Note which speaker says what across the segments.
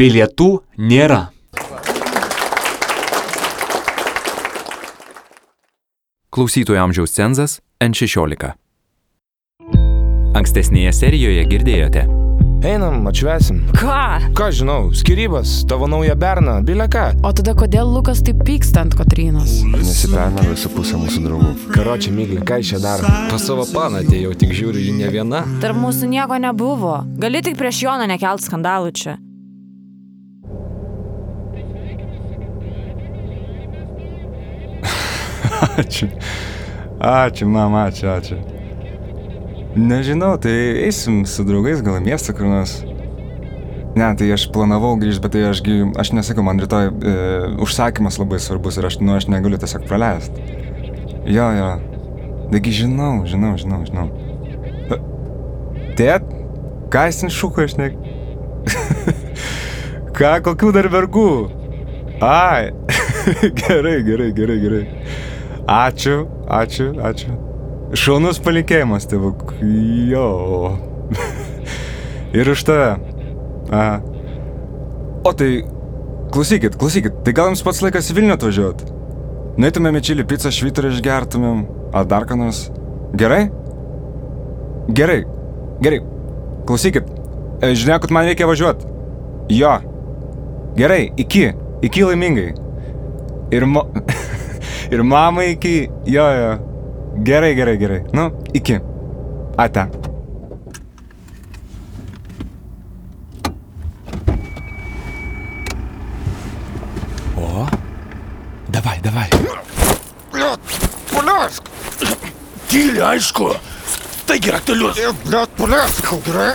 Speaker 1: Bilietų nėra.
Speaker 2: Klausytojų amžiaus cenzas N16. Ankstesnėje serijoje girdėjote
Speaker 3: Einam, atšvesim.
Speaker 4: Ką?
Speaker 3: Ką žinau, skirybas, tavo nauja berna, bileką.
Speaker 4: O tada kodėl Lukas taip pyksta ant Kotrynos?
Speaker 5: Nusipelno visą pusę mūsų draugų.
Speaker 3: Karočią, myglį, ką iš čia daro?
Speaker 6: Pas savo paną atėjau, tik žiūriu, ji ne viena.
Speaker 4: Tarp mūsų nieko nebuvo. Gali tik prieš Joną nekelt skandalų čia.
Speaker 5: Ačiū. Ačiū, mama, ačiū, ačiū. Nežinau, tai eisim su draugais, gal į miestą kur nors. Ne, tai aš planavau grįžti, bet tai ašgi, aš nesakau, man rytoj e, užsakymas labai svarbus ir aš, nu, aš negaliu tiesiog praleisti. Jo, jo. Taigi žinau, žinau, žinau, žinau. E, Tėt, ką jis ten šūko, aš ne... ką, kokių dar vergų? Ai, gerai, gerai, gerai, gerai. Ačiū, ačiū, ačiū. Šaunus palikėjimas, tėvuk. Jo. Ir už tave. A. O tai, klausykit, klausykit, tai gal jums pats laikas į Vilnių atvažiuot? Nueitumėm į čili pizzą, švyturį išgertumėm, ar dar ką nors. Gerai? Gerai, gerai. Klausykit, e, žinokit, man reikia važiuot. Jo. Gerai, iki, iki laimingai. Ir mo... Ir mama iki... Jo, jo. Gerai, gerai, gerai. Nu, iki. Ate.
Speaker 6: O? Davai, davai.
Speaker 7: Tyliai, aišku. Taigi raktelius. Ir, blėt, palesk, gerai.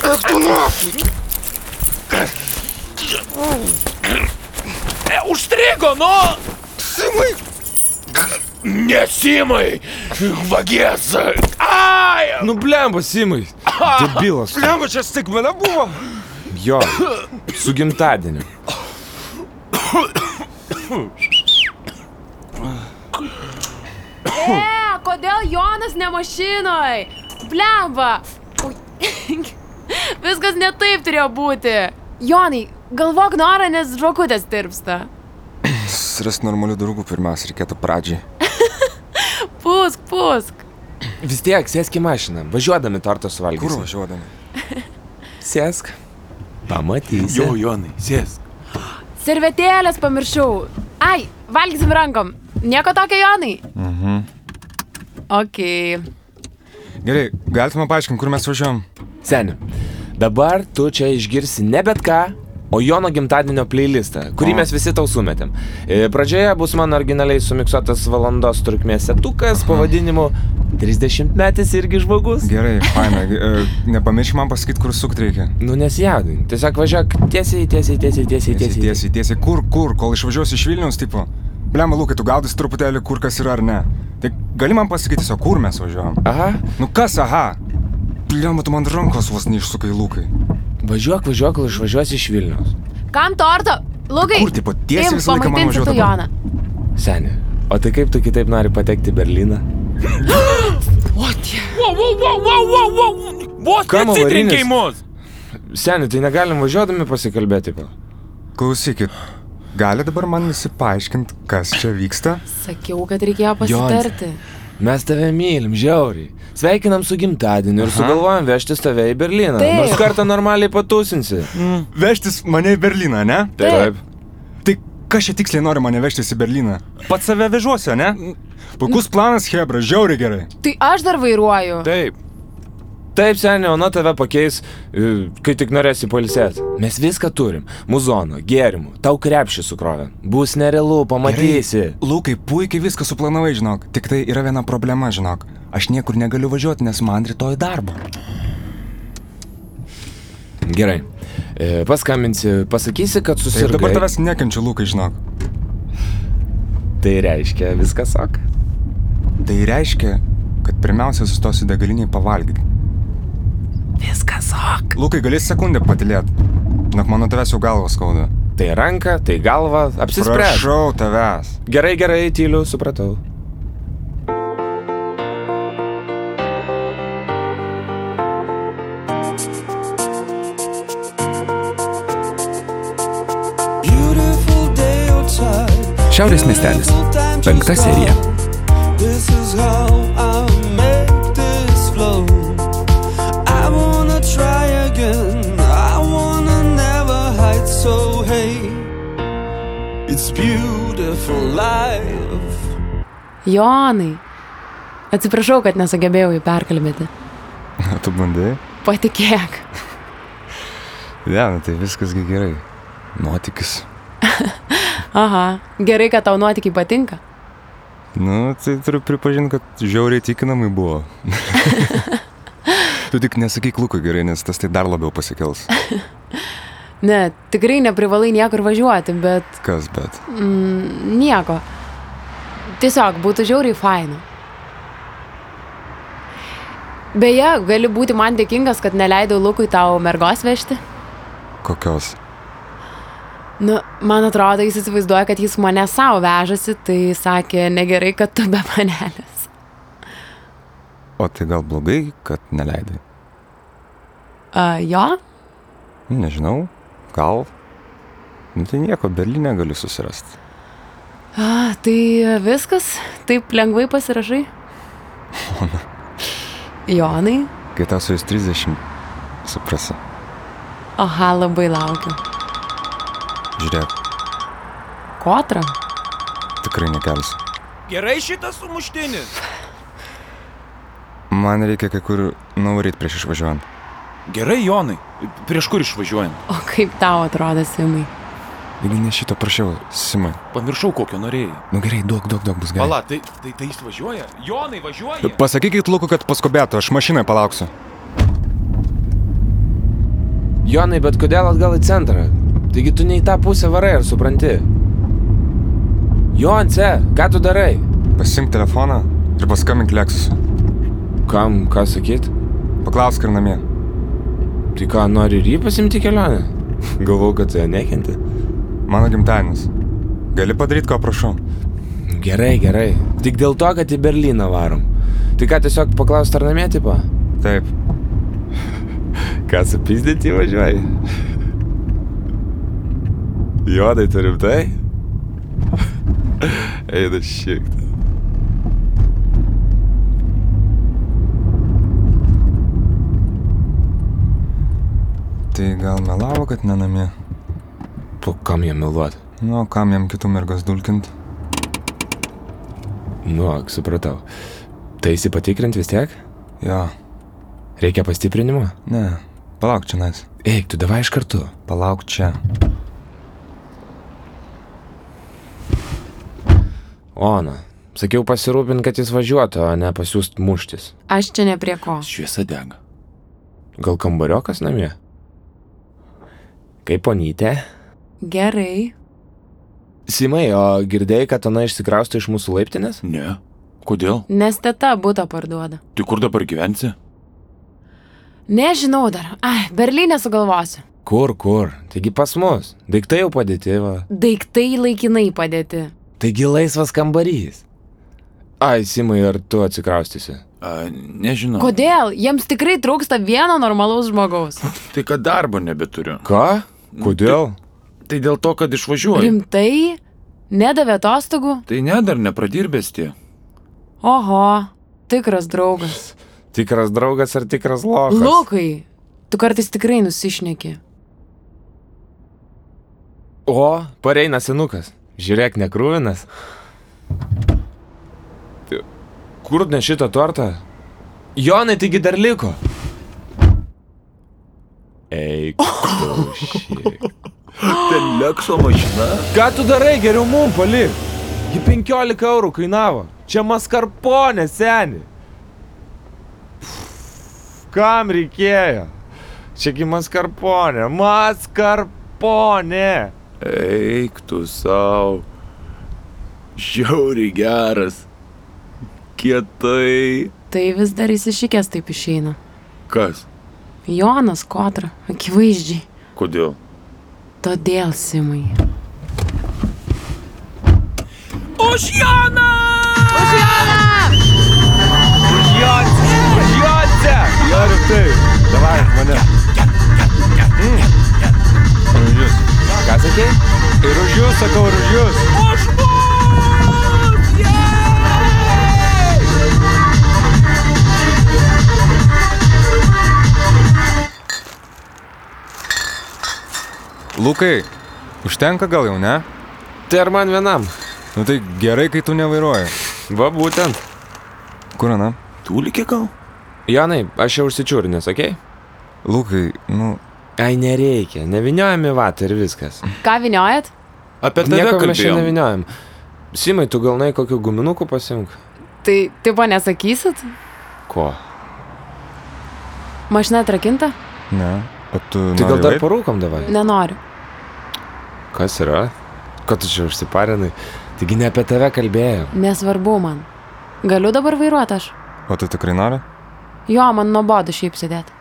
Speaker 7: Ir tu nosį.
Speaker 6: E, užstrigo, nu!
Speaker 7: Simai,
Speaker 6: Nesimai! Vagies! Ai!
Speaker 3: Nu, blemba, Simai. Debilas.
Speaker 7: lemba čia stikmena buvo.
Speaker 3: Jo. Su gimtadieniu.
Speaker 8: E, kodėl Jonas ne mašinoj? Blemba. Ui. Viskas ne taip turėjo būti. Jonai, galvok norą, nes žvakutės tirpsta.
Speaker 5: Surast normalių draugų pirmiausia reikėtų pradžiai.
Speaker 8: Pusk, pusk.
Speaker 3: Vis tiek, sėsk į mašiną, važiuodami torto
Speaker 5: Kur
Speaker 3: suvalgyti.
Speaker 5: važiuodami?
Speaker 3: Sėsk. Pamatysi.
Speaker 7: Jau, Jonai, sėsk.
Speaker 8: Servetėlės pamiršau. Ai, valgysim rankom. Nieko tokio, Jonai. Mhm. Ok.
Speaker 5: Gerai, galite man paaiškinti, kur mes važiuojam?
Speaker 3: Seni. Dabar tu čia išgirsi ne bet ką, o Jono gimtadienio playlistą, kurį
Speaker 5: O.
Speaker 3: mes visi tau sumetėm. E, Pradžioje bus mano originaliai sumiksuotas valandos trukmės setukas pavadinimu 30 metys irgi žmogus.
Speaker 5: Gerai, faina. Ge- e, Nepamiršk man pasakyti, kur sukt reikia.
Speaker 3: Nu nesijaudin, tiesiog važiuok tiesiai, tiesiai, tiesiai, tiesiai,
Speaker 5: Tiesiai,
Speaker 3: tiesiai. tiesiai.
Speaker 5: tiesiai, tiesiai. Kur, kur, kol išvažiuosi iš Vilnius, tipo. Bliam, Lukai, tu gaudys truputėlį, kur kas yra ar ne. Tai gali man pasakyti, tiesiog kur mes važiuojam?
Speaker 3: Aha,
Speaker 5: Nu kas, aha. Bliam, tu man rankos vos neišsukai, Lukai.
Speaker 3: važiuok, važiuok, kol išvažiuosi iš Vilnius.
Speaker 8: Kam torto? Lukai.
Speaker 5: Kur, tipo, tiesiai
Speaker 8: imk,
Speaker 5: visą laiką man
Speaker 8: pamaitinsi
Speaker 5: važiuot
Speaker 8: tu
Speaker 5: dabar?
Speaker 8: Joną.
Speaker 3: Seni, o tai kaip tu kitaip nori patekti į Berliną?
Speaker 6: Wow, wow, wow, wow, wow, wow! Vos
Speaker 3: Kam
Speaker 6: atsitrenkė
Speaker 3: avarinis?
Speaker 6: į mus!
Speaker 3: Seni, tai negalim važiuodami pasikalbėti. pa.
Speaker 5: Klausykit, gali dabar man visi paaiškinti, kas čia vyksta?
Speaker 8: Sakiau, kad reikėjo pasitarti.
Speaker 3: Mes tave mylim, žiauriai. Sveikinam su gimtadieniu ir sugalvojam vežti tave į Berliną.
Speaker 8: Taip.
Speaker 3: Nors kartą normaliai patusinsi.
Speaker 5: Vežtis mane į Berliną, ne?
Speaker 8: Taip.
Speaker 5: Tai kas čia tiksliai nori mane vežtis į Berliną? Pats save vežuosi, ne? Puikus planas, Hebra, žiauriai gerai.
Speaker 8: Tai aš dar vairuoju.
Speaker 3: Taip. Taip, seniai, ona tave pakeis, i, kai tik norėsi palsėti. Mes viską turim. Muzono, gėrimų, tau krepšį sukrovė. Bus nerealu, pamatysi.
Speaker 5: Lūkai, puikiai viską suplanavai, žinok. Tik tai yra viena problema, žinok. Aš niekur negaliu važiuoti, nes man rytoj darbo.
Speaker 3: Gerai. E, Paskambinsi, pasakysi, kad
Speaker 5: Tai Ir
Speaker 3: susirgai.
Speaker 5: dabar tavęs nekenčiu, Lūkai, žinok.
Speaker 3: Tai reiškia, viskas ok.
Speaker 5: Tai reiškia, kad pirmiausia sustosi degaliniai pavalgyti.
Speaker 3: Viskas ok.
Speaker 5: Lūkai, galės sekundę patilėti. Žinok, mano tavęs jau galvas skauda.
Speaker 3: Tai ranka, tai galva, apsispręs.
Speaker 5: Prašau tavęs.
Speaker 3: Gerai, gerai, tyliu, supratau.
Speaker 2: Šiaurės miestelis. Penkta serija.
Speaker 1: This is how I make this flow. I wanna try again. I wanna never hide. So hey, it's beautiful life.
Speaker 8: Jonai. Atsiprašau, kad nesugebėjau jį perkalbėti.
Speaker 5: Tu bandai?
Speaker 8: Patikėk.
Speaker 5: Ne, nu tai viskas gi gerai. Nuotikis.
Speaker 8: Aha, gerai, kad tau nuotikiai patinka.
Speaker 5: Nu, tai turiu pripažinti, kad žiauriai tikinamai buvo. tu tik nesakyk Lukui gerai, nes tas tai dar labiau pasikels.
Speaker 8: Ne, tikrai neprivalai niekur važiuoti, bet
Speaker 5: Kas bet?
Speaker 8: mm, nieko. Tiesiog būtų žiauriai fainu. Beje, gali būti man dėkingas, kad neleidau Lukui tau mergos vežti.
Speaker 5: Kokios?
Speaker 8: Nu, man atrodo, jis įsivaizduoja, kad jis mane savo vežasi, tai sakė, negerai, kad tu be manelės.
Speaker 5: O tai gal blogai, kad neleidai?
Speaker 8: A, jo?
Speaker 5: Nu, Nežinau, gal. Nu tai nieko, Berlyne galiu susirasti.
Speaker 8: A, tai viskas, taip lengvai pasirašai. Jonai,
Speaker 5: Kai tau su jais 30, suprasi.
Speaker 8: oha, labai laukiu.
Speaker 5: Žiūrėk,
Speaker 8: Kotra?
Speaker 5: tikrai nekelsiu.
Speaker 7: Gerai šitas sumuštinis.
Speaker 5: Man reikia kai kur nuvaryti prieš išvažiuojant.
Speaker 7: Gerai, Jonai. Prieš kur išvažiuojam?
Speaker 8: O kaip tau atrodo, Simai?
Speaker 5: Jeigu ne šito prašiau, Simai.
Speaker 7: Pamiršau, kokio norėjai.
Speaker 5: Nu gerai, daug, daug, daug bus gerai.
Speaker 7: Pala, tai, tai, tai jis važiuoja. Jonai važiuoja.
Speaker 5: Pasakykit Luku, kad paskubėtų, aš mašinai palauksiu.
Speaker 3: Jonai, bet kodėl atgal į centrą? Taigi tu ne į tą pusę varai, ar supranti? Jonce, ką tu darai?
Speaker 5: Pasimk telefoną ir paskambink Leksusui.
Speaker 3: Kam, ką sakyt?
Speaker 5: Paklausk ir namie.
Speaker 3: Tai ką, nori ir jį pasimti kelionę? Galvau, kad tu ją nekenti.
Speaker 5: Mano gimtadienis. Gali padaryti, ko prašau.
Speaker 3: Gerai, gerai. Tik dėl to, kad į Berliną varom. Tai ką, tiesiog paklausti ar namie, tipo?
Speaker 5: Taip. Ką supizdėti važiuoji? Juodai turim tai? Eida šiek tiek. Tai gal melavo, kad nenamie?
Speaker 3: Po kam jam meluot?
Speaker 5: Nu, o kam jam kitų mergos dulkint?
Speaker 3: Nu, ak, supratau. Tai įsipatikrinti vis tiek?
Speaker 5: Jo,
Speaker 3: Reikia pastiprinimo?
Speaker 5: ne. Palauk čia, Nais.
Speaker 3: Eik, tu davai iš kartu.
Speaker 5: Palauk čia.
Speaker 3: Ona, sakiau pasirūpint, kad jis važiuotų, o ne pasiūst muštis.
Speaker 8: Aš čia ne prie ko.
Speaker 7: Šviesa dega.
Speaker 3: Gal kambariokas namie? Kaip ponytė?
Speaker 8: Gerai.
Speaker 3: Simai, o girdėjai, kad ona išsikrausto iš mūsų laiptinės?
Speaker 7: Ne. Kodėl?
Speaker 8: Nes teta būtą parduoda.
Speaker 7: Tai kur dabar gyvensi?
Speaker 8: Nežinau dar. Ai, Berlyne sugalvosiu.
Speaker 3: Kur, kur? Taigi pas mus. Daiktai jau padėti, va.
Speaker 8: Daiktai laikinai padėti.
Speaker 3: Taigi laisvas kambarys. Ai, Simai, ar tu atsikraustysi?
Speaker 7: A, nežinau.
Speaker 8: Kodėl? Jiems tikrai trūksta vieno normalaus žmogaus.
Speaker 7: Tai kad darbo nebeturiu.
Speaker 3: Ką? Kodėl?
Speaker 7: Tai dėl to, kad išvažiuoju.
Speaker 8: Rimtai? Nedavė atostogų?
Speaker 7: Tai ne, dar nepradirbės tie.
Speaker 8: Oho, tikras draugas.
Speaker 3: Tikras draugas ar tikras lochas?
Speaker 8: Lukai, tu kartais tikrai nusišneki.
Speaker 3: O, pareina senukas. Žiūrėk, nekrūvinas. Tai Kur ne šitą tortą? Jonai, taigi dar liko. Eik.
Speaker 7: Tai lekso mašina.
Speaker 3: Ką tu darai, geriau mum palik. Ji 15 eurų kainavo. Čia maskarponė, seni. Kam reikėjo? Čiagi maskarponė. Maskarponė.
Speaker 7: Eik tu savo. Žiauri geras. Kietai.
Speaker 8: Tai vis dar įsišykęs taip išeina.
Speaker 7: Kas?
Speaker 8: Jonas Kotra, akivaizdžiai.
Speaker 7: Kodėl?
Speaker 8: Todėl, Simai.
Speaker 3: Tai
Speaker 5: Noriu tai. Davai, mane. Mm. Ir už jūs. Ką sakė? Ir už jūs, sakau, ir už jūs.
Speaker 7: Aš buvau.
Speaker 5: Lukai, užtenka gal jau, ne?
Speaker 3: Tai ar man vienam?
Speaker 5: Nu tai gerai, kai tu nevairuoji.
Speaker 3: Va būtent.
Speaker 5: Kur, na?
Speaker 7: Tūlikė gal?
Speaker 3: Jonai, aš jau užsičiūrinęs, okei? Okay?
Speaker 5: Lukai, nu,
Speaker 3: Ai, nereikia. Neviniojami vatą ir viskas.
Speaker 8: Ką viniojat?
Speaker 7: Apie tave
Speaker 3: Nieko mes čia
Speaker 7: kalbėjom.
Speaker 3: neviniojam. Simai, tu gal nai kokių guminukų pasimk?
Speaker 8: Tai tipo nesakysit?
Speaker 3: Ko?
Speaker 8: Mašina atrakinta?
Speaker 5: ne. O tu...
Speaker 3: Tai
Speaker 5: nori
Speaker 3: gal dar
Speaker 5: eit?
Speaker 3: parūkom davai?
Speaker 8: Nenoriu.
Speaker 3: Kas yra? Ko tu čia užsiparinai? Taigi ne apie tave kalbėjau.
Speaker 8: Nesvarbu man. Galiu dabar vairuoti aš.
Speaker 5: O tu tikrai nori?
Speaker 8: Jo, man nuobodu šiaip sėdėti.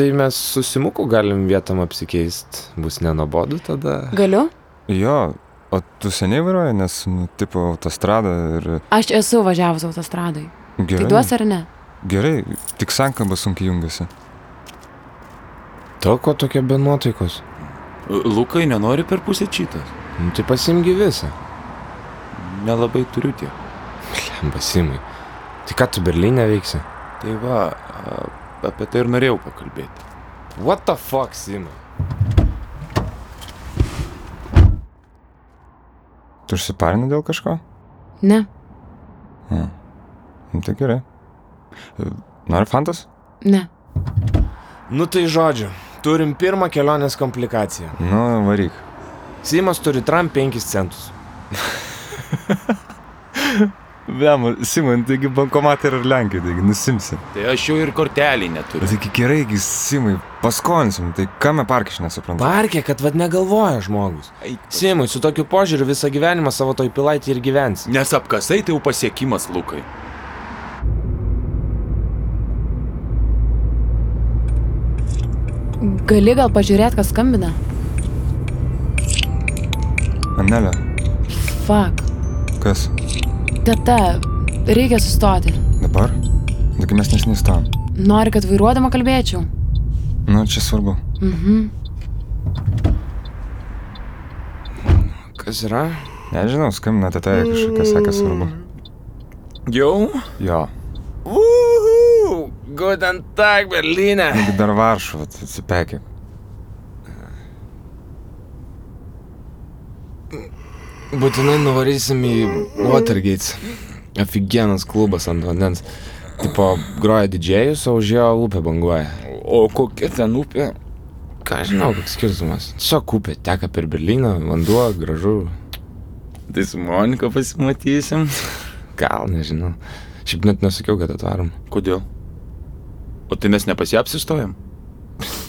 Speaker 3: Tai mes susimuku galim vietom apsikeisti. Bus nenobodu tada.
Speaker 8: Galiu?
Speaker 5: Jo, o tu seniai vairuoji, nes, nu, tipo, autostrada ir...
Speaker 8: Aš esu važiavus autostradai. Tai
Speaker 5: Gerai.
Speaker 8: duos ar ne?
Speaker 5: Gerai, tik sankamba sunkiai jungiasi.
Speaker 3: To ko tokia be nuotaikos?
Speaker 7: Lukai nenori per pusę čytas.
Speaker 3: Nu, tai pasimgi visą.
Speaker 7: Nelabai turiu tiek.
Speaker 3: Blemba, Simai. Tai ką tu Berlyne veiksi?
Speaker 7: Tai va, a- apie tai ir norėjau pakalbėti.
Speaker 3: What the fuck, Simai?
Speaker 5: Tu užsiparinai dėl kažko?
Speaker 8: Ne.
Speaker 5: Nu, tai gerai. E, Nori fantas?
Speaker 8: Ne.
Speaker 3: Nu tai žodžiu, turim pirmą kelionės komplikaciją.
Speaker 5: Nu, varyk.
Speaker 3: Simas turi tram 5 centus.
Speaker 5: Vėmu, Simon, taigi bankomatai yra ir Lenkijoje, taigi nusimsi.
Speaker 7: Tai aš jau ir kortelį neturiu.
Speaker 5: Bet taigi gerai, Nu, tai gi Simai, paskolinsim, tai kame parkiš nesuprantu.
Speaker 3: Parkė, kad vad negalvoja žmogus. Simui, su tokiu požiūriu visą gyvenimą savo toj pilaitį ir gyvensi.
Speaker 7: Nes apkasai tai jau pasiekimas, Lukai.
Speaker 8: Gali gal pažiūrėti, kas skambina?
Speaker 5: Anelė,
Speaker 8: Fuck.
Speaker 5: kas?
Speaker 8: Teta, reikia sustoti.
Speaker 5: Dabar? Taigi mes nesnystam.
Speaker 8: Nori, kad vairuodama kalbėčiau.
Speaker 5: Nu, čia svarbu.
Speaker 3: Kas yra?
Speaker 5: Nežinau, skambina teta jei kažkokia sakė svarbu.
Speaker 3: Jau?
Speaker 5: Jo,
Speaker 3: Uhu! Guten Tag, Berlyne!
Speaker 5: taigi nu, dar Varšuva, tai atsipekė.
Speaker 3: Būtinai nuvarysim į Watergate. Aфиgenas klubas ant vandens. Tipo, groja didžėjus, o už jo upė banguoja.
Speaker 7: O kokia ten upė?
Speaker 3: Ką aš žinau, koks skirtumas. Tiesiog upė teka per Berliną, vanduo, gražu.
Speaker 7: Tai su Monika pasimatysim.
Speaker 3: Gal nežinau. Šiaip net nesakiau, kad atvarom.
Speaker 7: Kodėl? O tai mes nepasi apsistojam?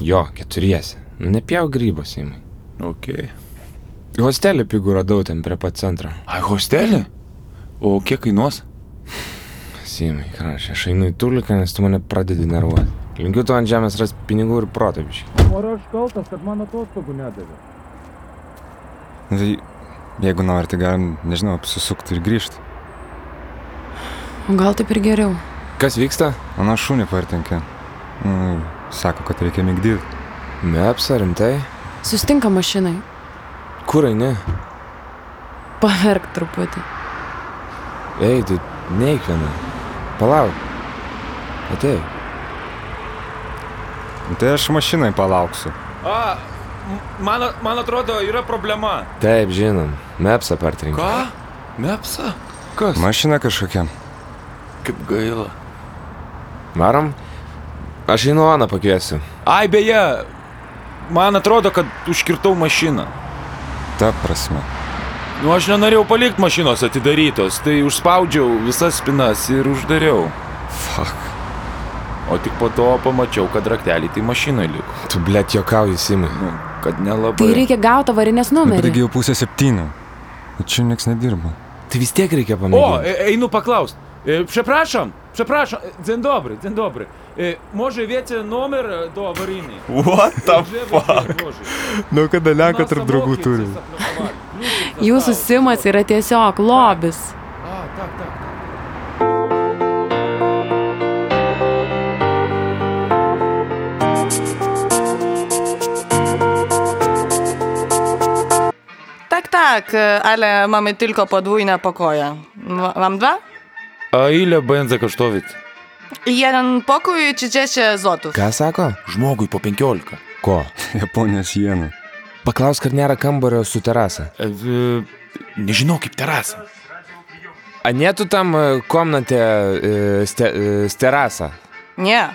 Speaker 3: Jo, keturiesi. Nu, Nepjau grybos įmai.
Speaker 7: Ok.
Speaker 3: Hostelį pigų radau ten prie pat centro.
Speaker 7: Ai, hostelį? O kiek kainuos?
Speaker 3: Simai, krašė, aš einu į tuliką, nes tu mane pradedi nervuoti. Linkiu tu ant žemės ras pinigų ir protaviškį.
Speaker 5: Nu, Tai jeigu nori, tai galim, nežinau, apsisukti ir grįžti.
Speaker 8: O gal taip ir geriau.
Speaker 3: Kas vyksta?
Speaker 5: Mano šūnį partinkė. Nu, sako, kad reikia mygdyti.
Speaker 3: Mepsa, rimtai?
Speaker 8: Sustinka mašinai.
Speaker 3: Kur eini?
Speaker 8: Paverk truputį.
Speaker 3: Ei, tai neik viena. Palauk. Ateik.
Speaker 5: Tai aš mašinai palauksiu.
Speaker 6: A, man, man atrodo, yra problema.
Speaker 3: Taip, žinom. Mepsa partrinka.
Speaker 7: Ką? Mepsa? Kas?
Speaker 5: Mašina kažkokia.
Speaker 7: Kaip gaila.
Speaker 3: Varom? Aš einu Aną pakviesiu.
Speaker 6: Ai beje, man atrodo, kad užkirtau mašiną.
Speaker 5: Ta prasme.
Speaker 6: Nu, aš nenorėjau palikti mašinos atidarytos, tai užspaudžiau visas spinas ir uždariau.
Speaker 5: Fuck.
Speaker 7: O tik po to pamačiau, kad raktelį tai mašinai liko.
Speaker 3: Tu blėt jokauji, Simai.
Speaker 7: Nu, kad
Speaker 8: Tai
Speaker 7: nelabai.
Speaker 8: reikia gauti avarinės
Speaker 5: Bet
Speaker 8: numerį.
Speaker 5: taigi jau pusė septynių. O Čia nieks nedirba.
Speaker 3: Tai vis tiek reikia
Speaker 6: O,
Speaker 3: pamėginti.
Speaker 6: e- einu paklausti. Przepraszam, przepraszam, e, dzień dobry, dzień dobry. E, Może wiecie numer e, do awaryjny?
Speaker 5: What the
Speaker 6: Żeby odłożyć.
Speaker 5: Nu, kada
Speaker 6: Na
Speaker 5: Lenko tarp draugų
Speaker 6: samochód
Speaker 5: turim.
Speaker 6: zablokowali. Ludzie
Speaker 8: Jūsų
Speaker 6: zostały.
Speaker 8: simas yra tiesiog lobis.
Speaker 6: A, tak, tak.
Speaker 9: Tak, tak, ale mamy tylko podwójne pokoje. Wa- Wam dwa?
Speaker 7: A ilė benza kaštovit?
Speaker 9: Jeden pokój 30 złotych.
Speaker 3: Ką sako?
Speaker 7: Žmogui po 15.
Speaker 3: Ko?
Speaker 5: Japonijos jėna.
Speaker 3: Paklausk, ar nėra kambario su terasa.
Speaker 7: Nežinau, kaip terasa.
Speaker 3: A nėtų tam e, komnate e, ste, e, s terasa?
Speaker 9: Ne.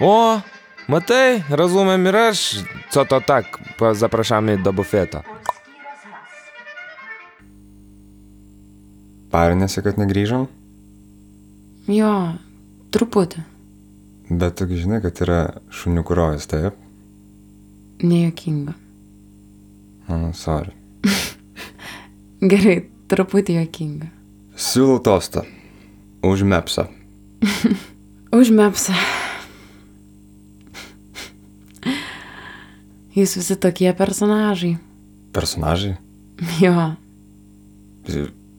Speaker 3: O, matai, razumem ir aš, co to tak, zaprašami do bufeto.
Speaker 5: Parinėsi, kad negryžom,
Speaker 8: Jo, truputį.
Speaker 5: bet tu gi žinai, kad yra šunių kurojas, taip?
Speaker 8: Nejuokinga.
Speaker 5: Mano, Nu, sorry.
Speaker 8: Gerai, truputį juokinga.
Speaker 5: Siūlau tostą. Už mepsą.
Speaker 8: Už mepsą. Jūs visi tokie personažai.
Speaker 5: Personažai.
Speaker 8: Jo,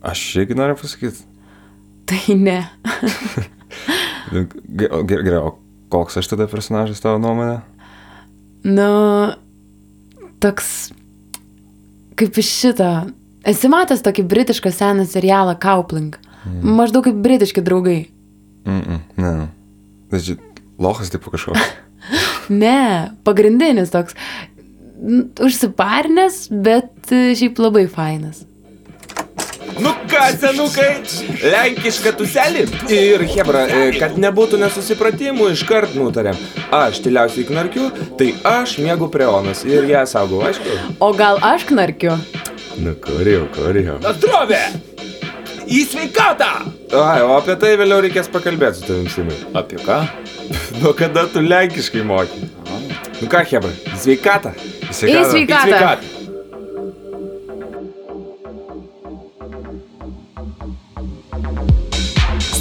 Speaker 5: Aš irgi noriu pasakyti.
Speaker 8: tai ne.
Speaker 5: Gerai, gerai, o koks aš tada personažas tavo nuomonė?
Speaker 8: Nu, toks. Kaip iš šito. Esi matęs tokį britišką seną serialą Kaupling. Mm. Maždaug kaip britiški draugai.
Speaker 5: Mm -mm, ne. Tačiau, lohas taip kažkoks.
Speaker 8: Ne, pagrindinis toks. n- Užsiparnęs, bet e, šiaip labai fainas.
Speaker 2: Nu ką, senukai, lenkišką tuselį. Ir Hebra, e, kad nebūtų nesusipratimų, iškart nutarėm. Aš tyliausiai knarkiu, tai aš mėgau preonas ir ją saugau, aišku.
Speaker 8: O gal aš knarkiu?
Speaker 2: Nu, korėjau, korėjau.
Speaker 6: Atrovė! Į sveikatą!
Speaker 2: Ai, o apie tai vėliau reikės pakalbėti su tavim, Simai.
Speaker 7: Apie ką?
Speaker 2: Nuo kada tu lenkiškai moki? Nu ką, Hebra, sveikata.
Speaker 8: Į
Speaker 5: Sveikata.
Speaker 8: sveikatą.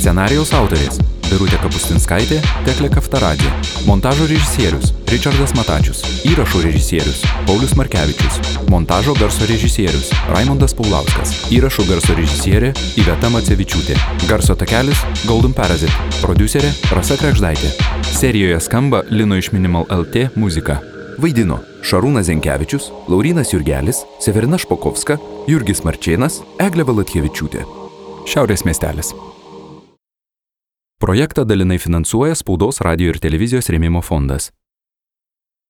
Speaker 10: Scenarijaus autorės - Birutė Kapustinskaitė, Teklė Kaftaradė. Montažo režisierius - Richardas Matačius. Įrašų režisierius - Paulius Markevičius. Montažo garso režisierius - Raimondas Paulauskas. Įrašų garso režisierė - Iveta Macevičiūtė. Garso takelis - Golden Parasite. Producerė - Rasa Krekždaitė. Serijoje skamba Lino iš Minimal LT muzika. Vaidino Šarūnas Zenkevičius, Laurinas Jurgelis, Severina Špokovska, Jurgis Marčėnas, Eglė Valatkievičiūtė. Šiaurės miestelis. Projektą dalinai finansuoja Spaudos radio ir televizijos rėmimo fondas.